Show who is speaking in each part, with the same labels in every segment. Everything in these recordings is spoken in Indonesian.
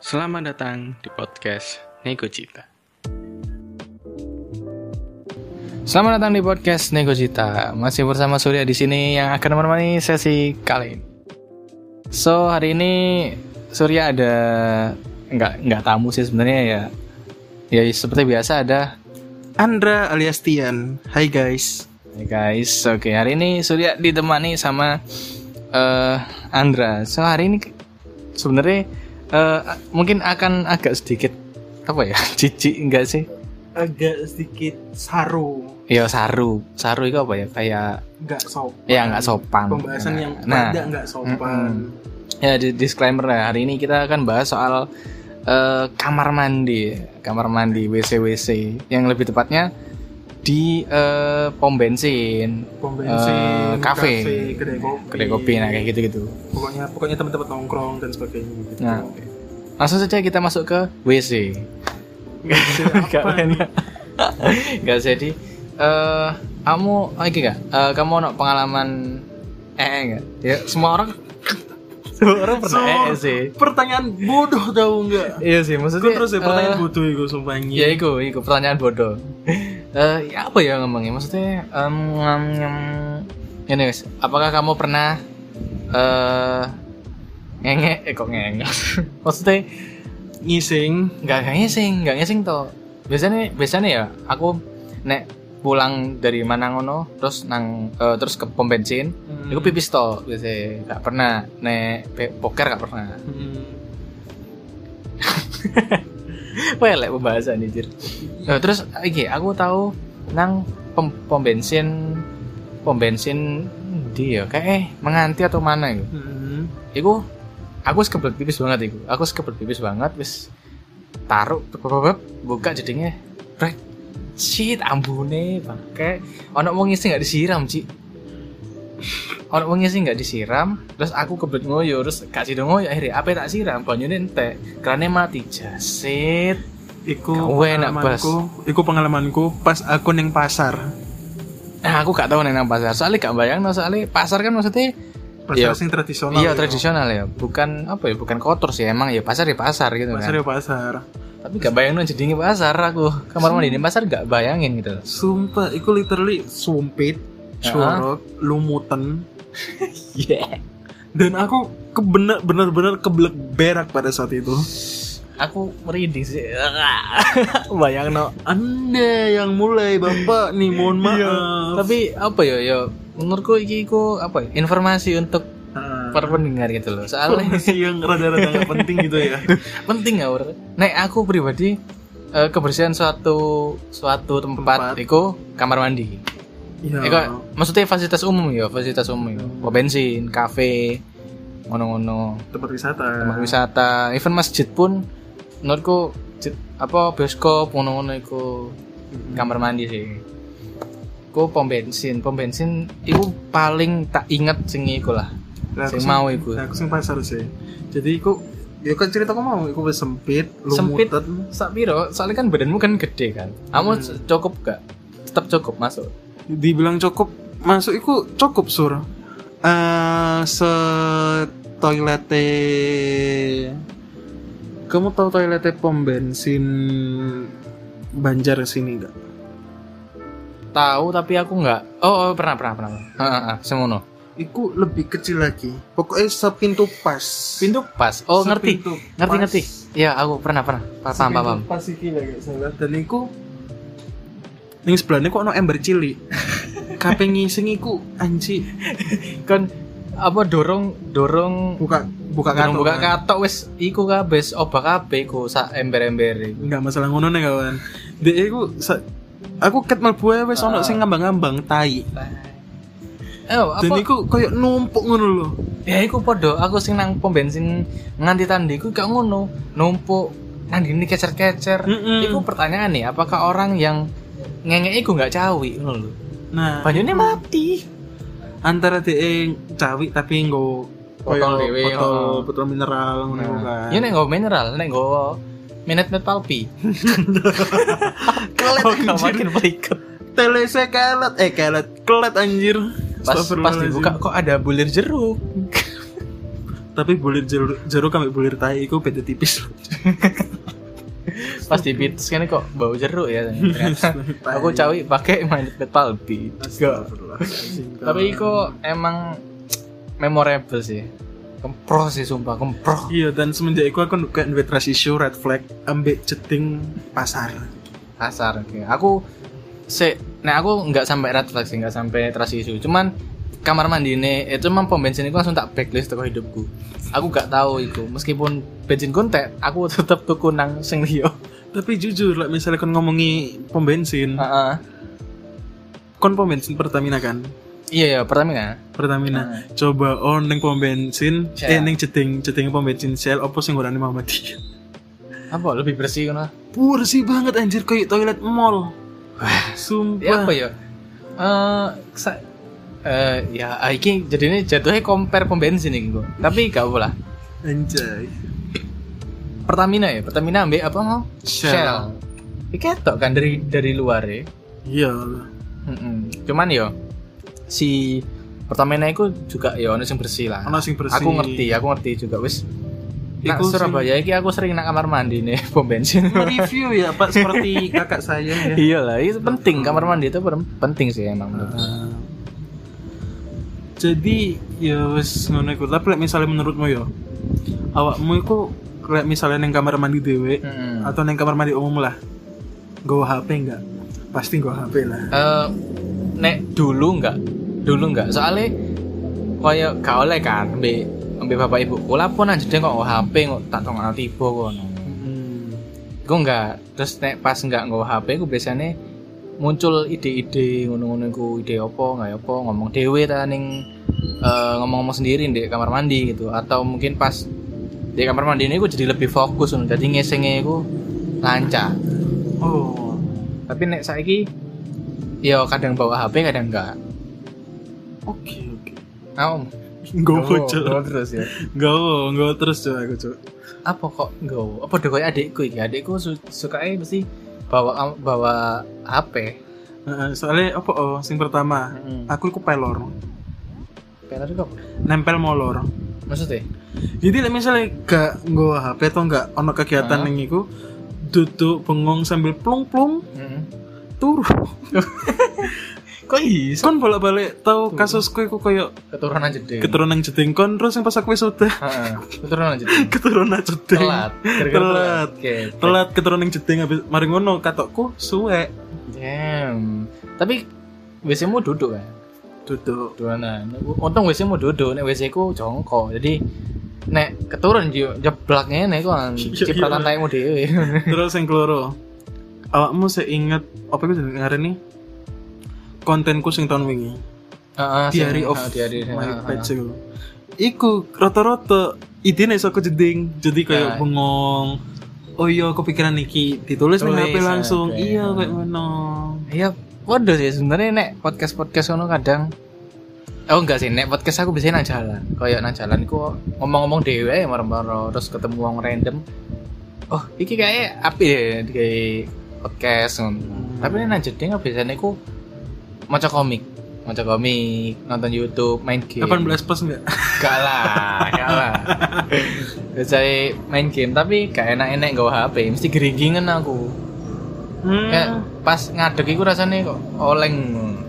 Speaker 1: Selamat datang di podcast Nego Cita. Selamat datang di podcast Nego Cita. Masih bersama Surya di sini yang akan menemani sesi kali ini. So hari ini Surya ada nggak nggak tamu sih sebenarnya ya. Ya seperti biasa ada
Speaker 2: Andra alias Tian. Hai guys.
Speaker 1: Hey guys, oke hari ini Surya ditemani sama eh, Andra. So hari ini ke- sebenarnya eh, a- mungkin akan agak sedikit apa ya jijik enggak sih?
Speaker 2: Agak sedikit saru,
Speaker 1: Ya saru, saru itu apa ya kayak
Speaker 2: nggak sopan.
Speaker 1: ya nggak sopan.
Speaker 2: Pembahasan
Speaker 1: Nah,
Speaker 2: yang
Speaker 1: nah,
Speaker 2: tidak nggak sopan.
Speaker 1: ya di- disclaimer ya hari ini kita akan bahas soal eh, kamar mandi, kamar mandi WC WC yang lebih tepatnya di eh, pom bensin,
Speaker 2: Pom
Speaker 1: Eh,
Speaker 2: bensin,
Speaker 1: kafe,
Speaker 2: kedai kopi,
Speaker 1: kedai kopi, nah kayak gitu gitu.
Speaker 2: Pokoknya pokoknya tempat-tempat nongkrong dan sebagainya. Gitu.
Speaker 1: Nah, langsung saja kita masuk ke WC.
Speaker 2: Bensin
Speaker 1: Gak
Speaker 2: apa nih?
Speaker 1: enak. Gak jadi. Eh, kamu, oh, iki gak? Eh, kamu ada pengalaman eh gak? Ya, semua orang semua orang pernah
Speaker 2: So,
Speaker 1: ee sih.
Speaker 2: pertanyaan bodoh tahu nggak?
Speaker 1: Iya sih, maksudnya
Speaker 2: Gue terus ya
Speaker 1: eh,
Speaker 2: pertanyaan bodoh itu sumpah ini.
Speaker 1: Ya iku, iku pertanyaan bodoh. Eh, ya apa ya ngomongnya? Maksudnya em em, em, ini guys, apakah kamu pernah eh ngenge eh kok ngenge? maksudnya
Speaker 2: ngising.
Speaker 1: nggak nggak ngising nggak ngising toh biasanya biasanya ya aku nek pulang dari mana ngono terus nang eh, terus ke pom bensin
Speaker 2: Hmm.
Speaker 1: aku pipis toh biasanya nggak pernah nek pe- poker nggak pernah
Speaker 2: Hmm.
Speaker 1: welek pembahasan anjir Eh, terus iki aku tahu nang pom, pom bensin pom bensin dia kayak eh menganti atau mana gitu
Speaker 2: Hmm.
Speaker 1: Iku aku wis kebelet pipis banget iku. Aku wis kebelet pipis banget wis taruh beb, beb, beb, buka jadinya rek shit ambune pakai ono wong ngisi nggak disiram Ci. Ono wong ngisi nggak disiram, terus aku kebelet ngoyo terus gak sido ngoyo akhirnya apa tak siram banyune entek, kerane mati jasit.
Speaker 2: Iku
Speaker 1: Kau enak, Bas.
Speaker 2: pengalamanku, iku pengalamanku pas aku neng pasar.
Speaker 1: Nah, aku gak tahu nih nang pasar. Soalnya gak bayang soalnya pasar kan maksudnya
Speaker 2: Pasar
Speaker 1: Iya.
Speaker 2: sing tradisional.
Speaker 1: iya
Speaker 2: itu.
Speaker 1: tradisional ya, bukan apa ya, bukan kotor sih emang ya pasar ya pasar gitu kan.
Speaker 2: Pasar ya pasar.
Speaker 1: tapi gak bayangin jadi ini pasar aku kamar mandi ini pasar gak bayangin gitu
Speaker 2: Sumpah, iku literally sumpit,
Speaker 1: Ya.
Speaker 2: corok, lumutan,
Speaker 1: yeah.
Speaker 2: dan aku kebener bener-bener keblek berak pada saat itu.
Speaker 1: aku merinding sih bayang no
Speaker 2: Anda yang mulai bapak nih, mohon
Speaker 1: Iya.
Speaker 2: maaf.
Speaker 1: tapi apa ya ya menurutku iki ku apa ya, informasi untuk
Speaker 2: Ah,
Speaker 1: para pendengar gitu loh soalnya
Speaker 2: informasi yang rada-rada nggak penting gitu ya.
Speaker 1: penting ya Ur. nek aku pribadi eh, kebersihan suatu suatu tempat, Ya.
Speaker 2: Tempat.
Speaker 1: iku kamar mandi
Speaker 2: Iya.
Speaker 1: Iku, maksudnya fasilitas umum ya fasilitas umum ya Pom bensin kafe ngono-ngono
Speaker 2: tempat wisata.
Speaker 1: tempat wisata even masjid pun menurutku j- apa bioskop ngono-ngono iku kamar mandi sih ku pom bensin pom bensin iku paling tak inget sing iku lah
Speaker 2: Nah, aku
Speaker 1: sing
Speaker 2: sing-
Speaker 1: mau iku
Speaker 2: nah, aku sing pasar sih. Jadi iku Ya kan cerita aku mau, aku sempit,
Speaker 1: Sempit.
Speaker 2: lumutan,
Speaker 1: sak piro soalnya kan badanmu kan gede kan kamu
Speaker 2: Hmm.
Speaker 1: cukup gak tetap cukup masuk
Speaker 2: dibilang cukup masuk itu cukup sur eh se toilet kamu tahu toilet pom bensin Banjar sini nggak?
Speaker 1: tahu tapi aku nggak oh, oh, pernah pernah pernah Heeh, heeh, semono
Speaker 2: Iku lebih kecil lagi. Pokoknya sepintu pas.
Speaker 1: pintu pas oh ngerti
Speaker 2: Sepintu
Speaker 1: ngerti
Speaker 2: pas.
Speaker 1: ngerti ya aku pernah pernah paham
Speaker 2: Sepintu
Speaker 1: paham
Speaker 2: Pas iki lah nggak salah. Dan iku ning sebelahnya kok ono ember cilik. Kape ngising iku anji
Speaker 1: kan apa dorong dorong
Speaker 2: buka
Speaker 1: Bukan
Speaker 2: buka kantor.
Speaker 1: buka katok wis iku kabeh obah kabeh iku sak ember-ember iku.
Speaker 2: nggak masalah ngono nih kawan dek eh, aku sa- aku ket mlebu ae wis ono
Speaker 1: Ah.
Speaker 2: sing ngambang-ngambang tai
Speaker 1: Eh,
Speaker 2: dan
Speaker 1: apa?
Speaker 2: iku koyo numpuk ngono lho
Speaker 1: Ya iku podo, aku sing nang pom bensin nganti tandhi iku gak ngono, numpuk nang dini kecer-kecer.
Speaker 2: Mm-mm.
Speaker 1: Iku pertanyaan nih, apakah orang yang ngengek iku gak cawi ngono lho.
Speaker 2: nah
Speaker 1: Banyune mati.
Speaker 2: antara dek cawi tapi nggo
Speaker 1: Botol dewe,
Speaker 2: botol,
Speaker 1: oh.
Speaker 2: botol mineral ngono kan
Speaker 1: Ya nek nggo mineral, nek nggo minute net palpi.
Speaker 2: kelet
Speaker 1: Kok gak
Speaker 2: anjir
Speaker 1: makin berikut.
Speaker 2: telese Oh, kelet eh kelet kelet anjir
Speaker 1: Pas pas
Speaker 2: Astagfirullahaladzim.
Speaker 1: dibuka kok ada bulir jeruk.
Speaker 2: tapi bulir jeruk jeruk kami bulir tai iku beda tipis loh.
Speaker 1: Pas dipites kan kok bau jeruk ya ternyata. Aku cawi pakai mindset palbi. juga.
Speaker 2: Astagfirullahaladzim.
Speaker 1: Tapi iku emang memorable sih. Kemproh sih sumpah, kemproh.
Speaker 2: Iya dan semenjak itu aku kayak duit trust issue red flag ambek ceting pasar.
Speaker 1: Kasar. Oke. Aku se nah aku nggak sampai red flag sih, nggak sampai trust issue. Cuman kamar mandi ini itu emang pom bensin itu langsung tak blacklist teko hidupku. Aku gak tahu itu. Meskipun bensin kontek, aku tetep tuku nang sing liyo.
Speaker 2: Tapi jujur lah misalnya kon ngomongi pom bensin,
Speaker 1: Heeh.
Speaker 2: kon pom bensin Pertamina kan?
Speaker 1: Iya ya, Pertamina.
Speaker 2: Pertamina. Coba on neng pom bensin,
Speaker 1: Ah. Shell.
Speaker 2: eh neng ceting ceting pom bensin Shell opo sing ngurani Muhammadiyah.
Speaker 1: Apa lebih bersih kan?
Speaker 2: Bersih banget anjir kayak toilet mall.
Speaker 1: Wah. Ya
Speaker 2: Sumpah.
Speaker 1: apa ya? Eh sa- eh, ya ah, iki jadinya jatuhnya compare pom bensin iki kok. Tapi gak apa lah.
Speaker 2: Anjay.
Speaker 1: Pertamina ya, Pertamina ambil apa mau?
Speaker 2: Shell.
Speaker 1: Iki ketok kan dari dari luar ya.
Speaker 2: Iya.
Speaker 1: Mm-mm. Cuman yo si Pertamina itu juga ya ono sing bersih lah.
Speaker 2: Ono sing bersih.
Speaker 1: Aku ngerti, aku ngerti juga wis. Nak
Speaker 2: Iku sing-
Speaker 1: Surabaya iki aku sering nak kamar mandi nih pom bensin.
Speaker 2: Mereview ya Pak seperti kakak saya
Speaker 1: Iya.
Speaker 2: ya.
Speaker 1: Iyalah, itu penting kamar mandi itu per- penting sih emang menurut.
Speaker 2: Uh, jadi ya wes ngono iku. Tapi like, misalnya menurutmu ya, awakmu iku kayak misalnya neng kamar mandi dewe
Speaker 1: Mm-mm.
Speaker 2: atau neng kamar mandi umum lah. Gue HP enggak? Pasti gue HP lah.
Speaker 1: Eh, nek dulu nggak dulu nggak soalnya kaya gak oleh kan ambil ambil bapak ibu kula pun aja kok oh, HP kok tak tong ngerti tiba kono gue nggak terus nek pas nggak nggak HP gue biasanya muncul ide-ide ngono-ngono iku ide apa nggak apa ngomong dewe ta ning eh, ngomong-ngomong sendiri di kamar mandi gitu atau mungkin pas di kamar mandi ini gue jadi lebih fokus ngono. jadi ngesengnya gue lancar
Speaker 2: Oh,
Speaker 1: tapi nek saiki ya kadang bawa HP kadang enggak
Speaker 2: oke oke.
Speaker 1: Om,
Speaker 2: Gue
Speaker 1: Gowo
Speaker 2: bocor.
Speaker 1: terus ya.
Speaker 2: Gue gue terus coba aku coba.
Speaker 1: Apa kok gowo? Apa deh kayak adikku iki? Adikku su suka mesti bawa bawa HP.
Speaker 2: Uh, soalnya apa oh, sing pertama,
Speaker 1: Heeh.
Speaker 2: aku iku pelor,
Speaker 1: Pengen kok.
Speaker 2: nempel molor.
Speaker 1: Maksudnya?
Speaker 2: Jadi like, misalnya gak gue HP atau gak ono kegiatan
Speaker 1: Hah?
Speaker 2: yang iku duduk bengong sambil plung plung
Speaker 1: Heeh.
Speaker 2: turu
Speaker 1: Kok iso
Speaker 2: kon bolak balik tahu
Speaker 1: Turu.
Speaker 2: kasus iku koyo
Speaker 1: keturunan jeding.
Speaker 2: keturunan jeding kon terus yang pas aku wis udah
Speaker 1: Heeh. Keturunan jeding.
Speaker 2: keturunan jeding
Speaker 1: Telat. Gara-gara
Speaker 2: Telat.
Speaker 1: Oke.
Speaker 2: telat keturunan jeding habis mari ngono katokku suwe
Speaker 1: Damn. Tapi WC mu duduk kan?
Speaker 2: duduk
Speaker 1: Duanan. Untung WC mu duduk, nek WC ku jongkok. Jadi nek keturun yo jeblak ngene ku kan
Speaker 2: Iya,
Speaker 1: cipratan
Speaker 2: iya.
Speaker 1: taimu dhewe.
Speaker 2: terus yang keloro awakmu seinget apa iku jenenge ngarani kontenku sing tahun wingi
Speaker 1: Heeh. sing-
Speaker 2: Diary of
Speaker 1: heeh, Ah, diary. heeh,
Speaker 2: my
Speaker 1: heeh.
Speaker 2: page iku. Iku rata-rata idene iso aku jeding. Jadi kayak
Speaker 1: Ya.
Speaker 2: bengong. Oh iya kepikiran iki ditulis ning
Speaker 1: Tulis, ah,
Speaker 2: HP langsung.
Speaker 1: oke.
Speaker 2: Iya kayak ngono.
Speaker 1: Iya, waduh sih sebenarnya nek podcast podcast ono kadang Oh enggak sih, nek podcast aku biasanya nang jalan. Kayak nang jalan ku ngomong-ngomong dhewe ae marah-marah terus ketemu wong random. Oh, iki kayak api deh kayak podcast ngono. Tapi nek nang jeding aku biasanya ku maca komik, maca komik, nonton YouTube, main game.
Speaker 2: 18 plus enggak?
Speaker 1: Gak lah, gak lah. Biasanya main game tapi gak enak-enak gak HP, mesti geringgingan aku. Kayak
Speaker 2: Hmm.
Speaker 1: pas ngadeg iku rasane kok oleng.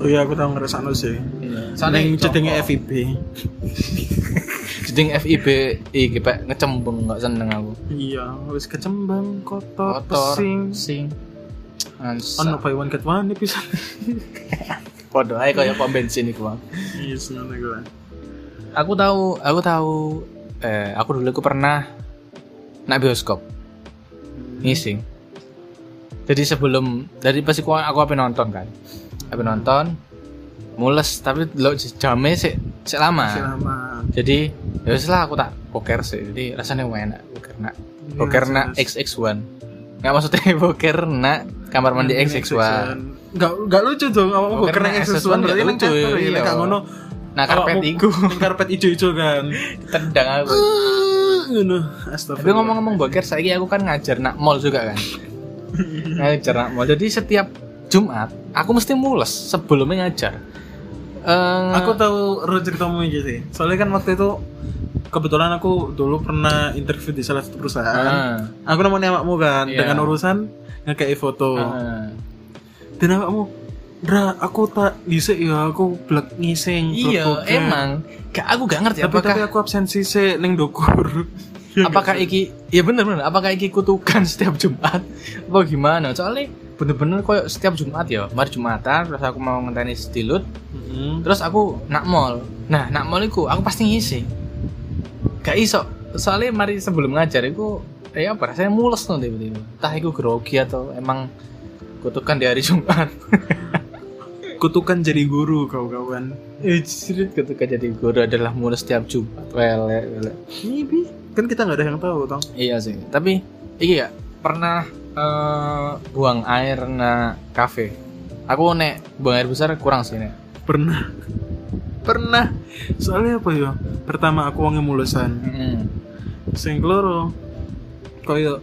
Speaker 2: Oh iya aku tau ngerasakno sih. Ning
Speaker 1: Soalnya
Speaker 2: jedenge FIB.
Speaker 1: Jeding FIB iki pak ngecembung nggak seneng aku.
Speaker 2: Iya, wis kecembang, kotor,
Speaker 1: Kotor,
Speaker 2: pesing.
Speaker 1: sing.
Speaker 2: Oh, Ono
Speaker 1: Ansa.
Speaker 2: buy one get one bisa.
Speaker 1: Podo ae kaya pom bensin iku. Bang.
Speaker 2: Iya, seneng aku lah.
Speaker 1: Aku tahu, aku tahu eh aku dulu aku pernah nak bioskop
Speaker 2: Hmm.
Speaker 1: ngising. Jadi sebelum dari pas aku aku apa nonton kan. Apa nonton mules tapi lo jamnya sih sih
Speaker 2: Masih lama.
Speaker 1: jadi ya wis lah aku tak poker sih jadi rasanya enak poker nak poker nak
Speaker 2: Iya,
Speaker 1: XX1 nggak maksudnya poker nak kamar mandi XX1
Speaker 2: Gak, gak lucu dong,
Speaker 1: Poker
Speaker 2: awakmu poker
Speaker 1: nang
Speaker 2: nang
Speaker 1: XX1
Speaker 2: XX1
Speaker 1: gak
Speaker 2: berarti nang
Speaker 1: lucu,
Speaker 2: kantor
Speaker 1: iya.
Speaker 2: ya, gak ngono
Speaker 1: nah karpet
Speaker 2: Awakmu-
Speaker 1: iku
Speaker 2: nang karpet ijo-ijo kan
Speaker 1: tendang aku
Speaker 2: ngono
Speaker 1: tapi
Speaker 2: astagfirullah
Speaker 1: ngomong-ngomong poker saya aku kan ngajar nak mall juga kan ngajar nak mall jadi setiap Jumat aku mesti mules sebelumnya ngajar Eh,
Speaker 2: aku tahu rojer kamu gitu sih soalnya kan waktu itu kebetulan aku dulu pernah interview di salah satu perusahaan.
Speaker 1: Heeh.
Speaker 2: Aku namanya awakmu
Speaker 1: Ah. Iya.
Speaker 2: kan
Speaker 1: Ah.
Speaker 2: dengan urusan ngekei foto.
Speaker 1: Heeh.
Speaker 2: Dan awakmu, Dra, aku tak bisa ya aku black ngising. blek
Speaker 1: Iya,
Speaker 2: bokeh."
Speaker 1: emang. Gak, aku gak ngerti
Speaker 2: Tapi
Speaker 1: apakah
Speaker 2: tapi aku absensi sih neng dokur. Iya nggak
Speaker 1: apakah
Speaker 2: sih?
Speaker 1: iki ya bener bener apakah iki kutukan setiap Jumat apa gimana soalnya bener-bener koyo setiap Jumat ya mari Jumatan terus aku mau ngenteni sedilut
Speaker 2: Mm-mm.
Speaker 1: terus aku nak mall nah nak mall iku aku pasti ngisi gak iso soalnya mari sebelum ngajar iku eh apa rasanya mules tuh tiba-tiba entah iku grogi atau emang kutukan di hari Jumat
Speaker 2: Kutukan jadi guru kan. kau kawan.
Speaker 1: Eh, justru kutukan jadi guru adalah mules setiap Jumat wele wele
Speaker 2: Ini Bi, kan kita nggak ada yang tahu tong.
Speaker 1: Iya sih, tapi iki ya pernah eh, buang air na kafe. Aku nek buang air besar kurang sih nek.
Speaker 2: Pernah. Pernah. Soalnya apa ya? Pertama aku wangi mulusan. sing keloro koyo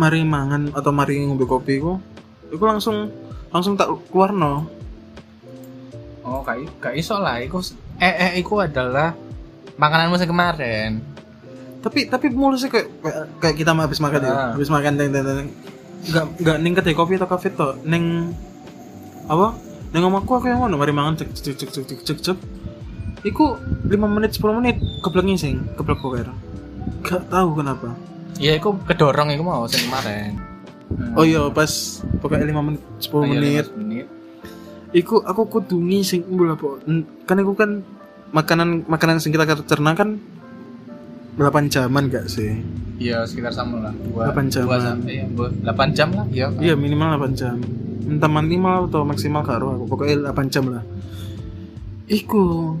Speaker 2: mari mangan atau mari ngombe kopi ku iku langsung langsung tak keluar no
Speaker 1: Oh, kayak kayak iso lah. Iku eh eh iku adalah makananmu sing kemarin.
Speaker 2: tapi tapi mulusnya kayak kayak- kayak kita habis makan ya
Speaker 1: Ah.
Speaker 2: habis makan teng teng teng nggak nggak ning kedai kopi atau kafe to neng apa neng omahku aku yang ngono mari mangan cek cek cek cek cek cek cek iku 5 menit 10 menit keblek ngising keblek boker gak tahu kenapa
Speaker 1: Ya iku kedorong iku mau sing kemarin.
Speaker 2: oh iya pas pokoknya 5 menit 10
Speaker 1: Ah,
Speaker 2: menit
Speaker 1: iya, menit.
Speaker 2: Iku aku kudu ngising mbul apa? N- Kan aku kan makanan makanan sing kita cerna kan 8 jaman gak sih?
Speaker 1: Iya sekitar sama lah. Dua,
Speaker 2: Delapan jam.
Speaker 1: dua sampai ya, bu- delapan jam lah. Iya.
Speaker 2: Iya minimal 8 jam. Entah minimal atau maksimal karo aku pokoknya 8 jam lah. Iku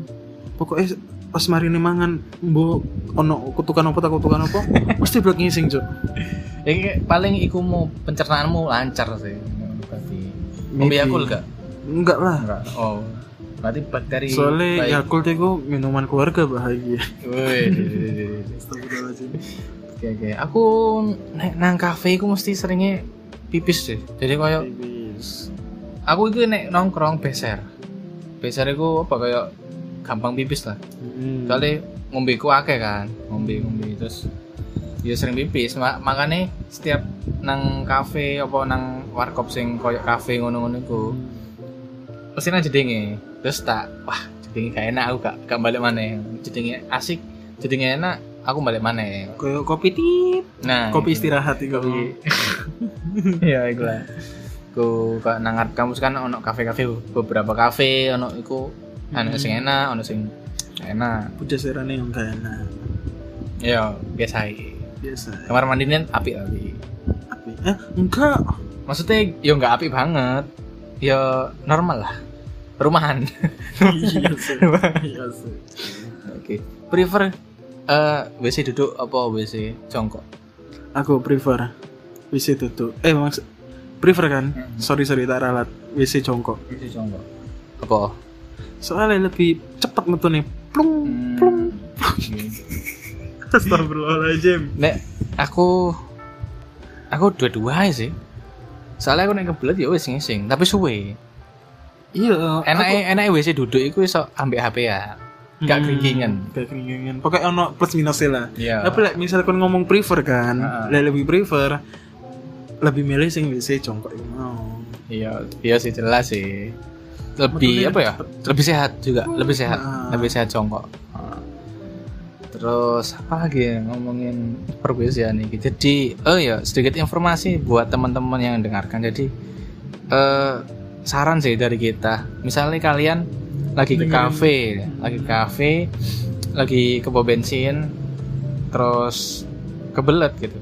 Speaker 2: pokoknya pas mari ini mangan mbok ono kutukan apa tak kutukan apa mesti blok ngising cuk.
Speaker 1: Iki kayak paling iku mau pencernaanmu lancar sih. Berarti. Kopi
Speaker 2: Maybe.
Speaker 1: aku gak?
Speaker 2: Enggak lah.
Speaker 1: Enggak. Oh. Berarti bakteri
Speaker 2: Soalnya ya-
Speaker 1: baik.
Speaker 2: Yakult itu minuman keluarga iya. bahagia.
Speaker 1: Woi. Oke oke. Aku nek nang kafe aku mesti seringnya pipis deh. Jadi koyo aku itu nek nongkrong beser. Beser iku apa koyo gampang pipis lah.
Speaker 2: Hmm.
Speaker 1: Soalnya ngombe ku akeh kan. Ngombe ngombe terus ya sering pipis Ma- makanya setiap nang kafe apa nang warkop sing koyo kafe ngono-ngono iku pasti nang jedenge terus tak wah jedenge gak enak aku gak gak balik maneh jedenge asik jedenge enak aku balik maneh
Speaker 2: Kayak kopi tit
Speaker 1: nah
Speaker 2: kopi
Speaker 1: itu.
Speaker 2: istirahat itu
Speaker 1: kopi ya iku lah ku kok nang ngarep kampus kan ono kafe-kafe beberapa kafe ono iku ono
Speaker 2: Hmm.
Speaker 1: sing enak ono sing gak enak
Speaker 2: udah serane yang gak enak
Speaker 1: ya biasa iki
Speaker 2: biasa
Speaker 1: kamar mandinya apik tapi
Speaker 2: tapi eh enggak
Speaker 1: maksudnya ya nggak apik banget ya normal lah rumahan
Speaker 2: iya sih iya sih
Speaker 1: oke prefer eh WC duduk apa WC jongkok
Speaker 2: aku prefer WC tutup eh maks prefer kan
Speaker 1: Mm.
Speaker 2: sorry sorry tak ralat WC jongkok
Speaker 1: Itu jongkok. Apa?
Speaker 2: soalnya lebih cepet metu nih plung plung astagfirullahaladzim
Speaker 1: Nek aku aku dua-dua sih. Soalnya aku nek kebelet ya wis ngising, tapi suwe.
Speaker 2: iya
Speaker 1: Enake enake WC duduk iku iso ambek HP ya. eh, gak keringingan.
Speaker 2: Hmm, gak keringingan pokoknya ono plus minusnya lah
Speaker 1: Iya.
Speaker 2: tapi like, misal kon ngomong prefer kan
Speaker 1: Heeh.
Speaker 2: like, lebih prefer lebih milih sing WC jongkok yang mau
Speaker 1: Iya, iya sih jelas sih. Lebih
Speaker 2: Metune
Speaker 1: apa ya? Lebih sehat juga, lebih sehat,
Speaker 2: Ah.
Speaker 1: lebih sehat jongkok. Ah. Terus apa lagi ya ngomongin perbedaan ini? Jadi, oh ya sedikit informasi buat teman-teman yang mendengarkan. Jadi eh, saran sih dari kita. Misalnya kalian lagi ke
Speaker 2: Dengerin.
Speaker 1: kafe, lagi ke kafe, lagi ke pom bensin, terus kebelet gitu.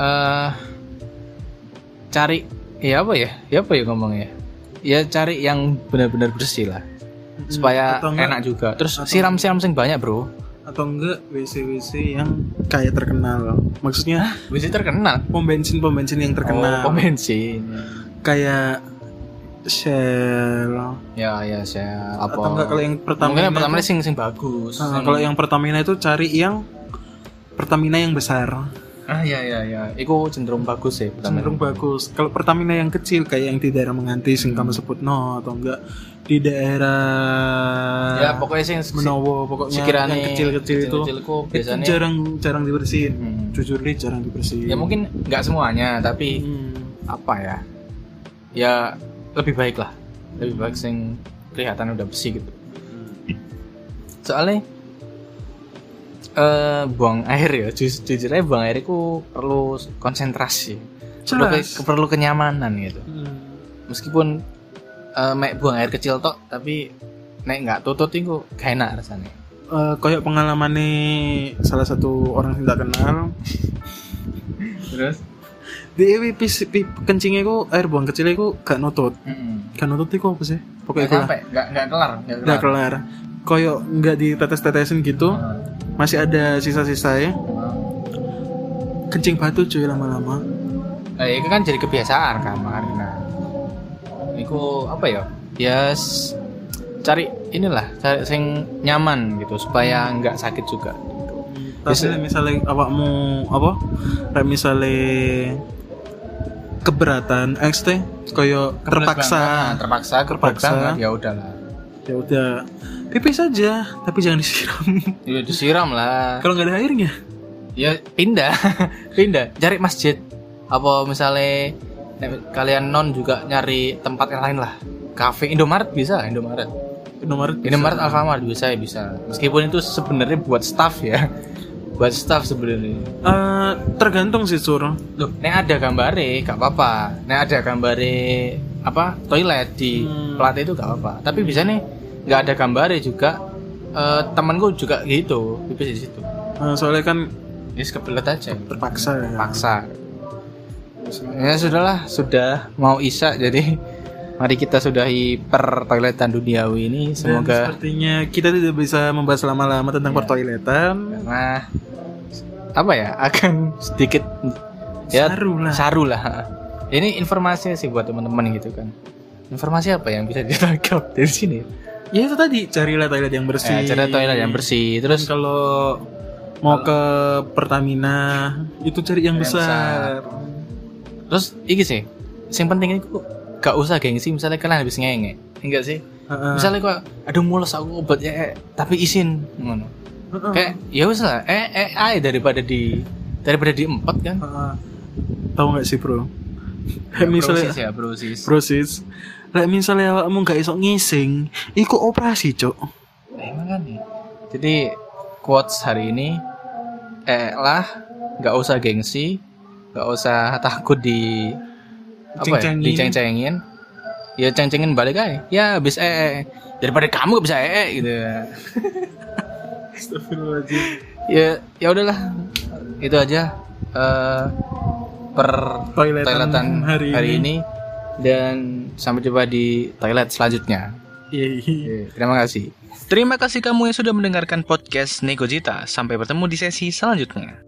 Speaker 1: Eh cari ya apa ya? Ya apa ya ngomongnya? Ya cari yang benar-benar bersih lah
Speaker 2: Mm,
Speaker 1: supaya
Speaker 2: atau enggak-
Speaker 1: enak juga. Terus
Speaker 2: atau-
Speaker 1: siram-siram sing banyak, Bro.
Speaker 2: atau enggak WC-WC yang kayak terkenal maksudnya
Speaker 1: Wis terkenal.
Speaker 2: pom bensin pom bensin yang terkenal
Speaker 1: Oh, pom bensin.
Speaker 2: kayak Shell
Speaker 1: Ya ya saya apa?
Speaker 2: iya. atau enggak kalau yang
Speaker 1: Mungkin
Speaker 2: Pertamina Nah,
Speaker 1: yang pertama Hmm.
Speaker 2: itu-
Speaker 1: sing sing bagus.
Speaker 2: Ah, kalau yang Pertamina itu cari yang Pertamina yang besar
Speaker 1: ah ya ya ya iku cenderung bagus sih pertama.
Speaker 2: cenderung bagus. Kalau Pertamina yang kecil kayak yang di daerah Menganti sing kamu sebut no atau enggak di daerah
Speaker 1: ya pokoknya sih
Speaker 2: Menowo pokoknya
Speaker 1: sekiranya
Speaker 2: yang kecil-kecil itu, itu
Speaker 1: biasanya
Speaker 2: jarang jarang dibersihin.
Speaker 1: Hmm.
Speaker 2: Jujur deh jarang dibersihin.
Speaker 1: ya mungkin nggak semuanya tapi
Speaker 2: Hmm.
Speaker 1: apa ya ya lebih baik lah lebih baik sing kelihatan udah bersih gitu soalnya eh buang air ya Ju- jujur aja buang air itu perlu konsentrasi perlu,
Speaker 2: Jelas.
Speaker 1: ke- perlu kenyamanan gitu
Speaker 2: Hmm.
Speaker 1: meskipun eh mek buang air kecil tok tapi nek nggak tutut itu gak enak rasanya
Speaker 2: Eh, kayak pengalaman salah satu orang yang tak kenal
Speaker 1: terus
Speaker 2: di Ewi pis, pi, kencingnya ku air buang kecilnya ku gak nutut gak nutut itu apa sih
Speaker 1: nggak
Speaker 2: pokoknya itu lah
Speaker 1: sampai nggak nggak kelar nggak
Speaker 2: udah kelar kayak nggak ditetes-tetesin gitu masih ada sisa-sisa ya
Speaker 1: Hmm.
Speaker 2: kencing batu cuy lama-lama
Speaker 1: Nah, itu kan jadi kebiasaan kan makanya. Iku apa ya? Ya s- cari inilah cari sing nyaman gitu supaya nggak sakit juga.
Speaker 2: tapi
Speaker 1: Bisa.
Speaker 2: misalnya awakmu apa Kayak misalnya keberatan ekste kayak
Speaker 1: Kebelet banget.
Speaker 2: terpaksa
Speaker 1: terpaksa,
Speaker 2: Terpaksa.
Speaker 1: terpaksa. Ya udahlah.
Speaker 2: ya udah pipis saja tapi jangan disiram
Speaker 1: Ya disiram lah.
Speaker 2: kalau nggak ada airnya
Speaker 1: Ya pindah, pindah. Cari masjid. Apa misalnya nek kalian non juga nyari tempat yang lain lah. Cafe Indomaret bisa, Indomaret.
Speaker 2: nomor
Speaker 1: Indomaret Alfamart bisa ya bisa. Meskipun itu sebenarnya buat staff ya. Buat staff sebenarnya.
Speaker 2: Eh, tergantung sih sur
Speaker 1: Loh, nek ada gambare gak apa-apa. Nek ada gambare apa toilet di
Speaker 2: Hmm.
Speaker 1: plat itu gak apa-apa. Tapi bisa nih nggak ada gambare juga eh, temanku juga gitu, pipis di situ.
Speaker 2: Eh, soalnya kan
Speaker 1: Ini kebelet aja,
Speaker 2: terpaksa ya
Speaker 1: paksa. Ya sudahlah, sudah mau isak jadi mari kita sudahi pertoiletan duniawi ini
Speaker 2: Dan
Speaker 1: semoga
Speaker 2: sepertinya kita tidak bisa membahas lama-lama tentang
Speaker 1: Iya.
Speaker 2: pertoiletan
Speaker 1: karena apa ya akan sedikit ya
Speaker 2: saru lah
Speaker 1: saru lah ini informasi sih buat teman-teman gitu kan informasi apa yang bisa ditangkap dari sini
Speaker 2: ya itu tadi carilah toilet yang bersih
Speaker 1: ya, cara toilet yang bersih
Speaker 2: terus
Speaker 1: terus
Speaker 2: kalau mau ke Pertamina itu cari yang,
Speaker 1: Yang
Speaker 2: besar,
Speaker 1: terus iki sih yang penting itu gak usah gengsi misalnya kalian habis ngenge enggak sih
Speaker 2: Heeh.
Speaker 1: misalnya kok aduh mules aku obat eh, eh, tapi isin ngono
Speaker 2: Heeh.
Speaker 1: kayak ya wis lah eh eh ay daripada di daripada di empat kan
Speaker 2: Heeh. tahu nggak sih
Speaker 1: Nah,
Speaker 2: bro Kayak misalnya
Speaker 1: Proses ya brosis
Speaker 2: proses Lek misalnya awakmu gak iso ngising, iku operasi, Cok.
Speaker 1: Nah, emang kan nih. Jadi quotes hari ini eh lah nggak usah gengsi, nggak usah takut di apa ya,
Speaker 2: Diceng-cengin.
Speaker 1: diceng-cengin. Ya ceng-cengin balik aja. Ya habis eh, eh daripada kamu gak bisa eh, eh gitu.
Speaker 2: Astagfirullahaladzim.
Speaker 1: Ya ya udahlah. Itu aja eh per
Speaker 2: Toiletan
Speaker 1: toiletan
Speaker 2: hari
Speaker 1: hari, ini. dan sampai jumpa di toilet selanjutnya.
Speaker 2: Iya.
Speaker 1: Oke, Terima kasih. Terima kasih kamu yang sudah mendengarkan podcast Negojita. Sampai bertemu di sesi selanjutnya.